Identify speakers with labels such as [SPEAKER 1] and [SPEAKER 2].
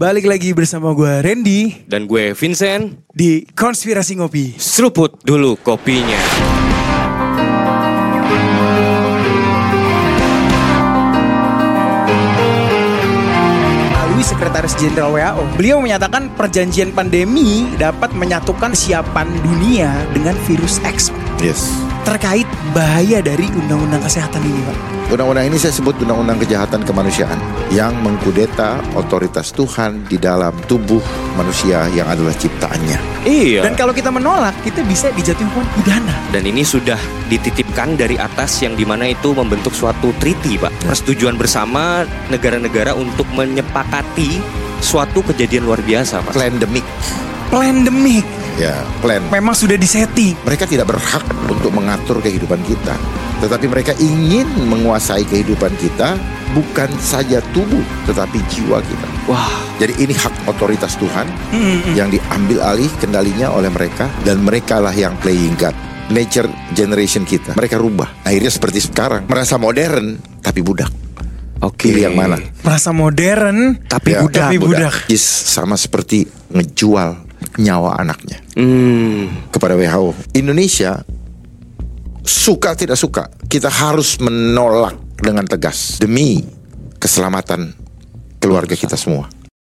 [SPEAKER 1] Balik lagi bersama gue Randy
[SPEAKER 2] Dan gue Vincent,
[SPEAKER 1] di Konspirasi Ngopi.
[SPEAKER 2] seruput dulu kopinya.
[SPEAKER 1] Melalui Sekretaris Jenderal WHO, beliau menyatakan perjanjian pandemi dapat menyatukan siapan dunia dengan virus X.
[SPEAKER 3] Yes.
[SPEAKER 1] Terkait bahaya dari undang-undang kesehatan ini, Pak.
[SPEAKER 3] Undang-undang ini saya sebut undang-undang kejahatan kemanusiaan yang mengkudeta otoritas Tuhan di dalam tubuh manusia yang adalah ciptaannya.
[SPEAKER 2] Iya.
[SPEAKER 1] Dan
[SPEAKER 2] Dan,
[SPEAKER 1] kalau kita menolak, kita bisa dijatuhi hukuman pidana.
[SPEAKER 2] ini sudah dititipkan dari atas yang dimana itu membentuk suatu treaty, Pak. Persetujuan bersama negara-negara untuk menyepakati suatu kejadian luar biasa, Pak.
[SPEAKER 3] Plandemic,
[SPEAKER 1] Pandemic
[SPEAKER 3] ya, plan.
[SPEAKER 1] memang sudah disetting.
[SPEAKER 3] Mereka tidak berhak untuk mengatur kehidupan kita, tetapi mereka ingin menguasai kehidupan kita bukan saja tubuh tetapi jiwa kita.
[SPEAKER 2] Wah,
[SPEAKER 3] Jadi ini hak otoritas Tuhan
[SPEAKER 2] Hmm,
[SPEAKER 1] Mm-mm.
[SPEAKER 3] yang diambil alih kendalinya oleh mereka dan merekalah yang playing God. Nature generation kita, mereka rubah. Akhirnya seperti sekarang, merasa modern tapi budak.
[SPEAKER 2] oke.
[SPEAKER 3] Pilih yang mana?
[SPEAKER 1] Merasa modern,
[SPEAKER 2] Tapi
[SPEAKER 3] Ya,
[SPEAKER 2] budak.
[SPEAKER 1] Tapi budak.
[SPEAKER 3] Is sama seperti ngejual nyawa anaknya
[SPEAKER 2] Hmm,
[SPEAKER 3] kepada WHO. Indonesia suka tidak suka, kita harus menolak dengan tegas demi keselamatan keluarga kita semua.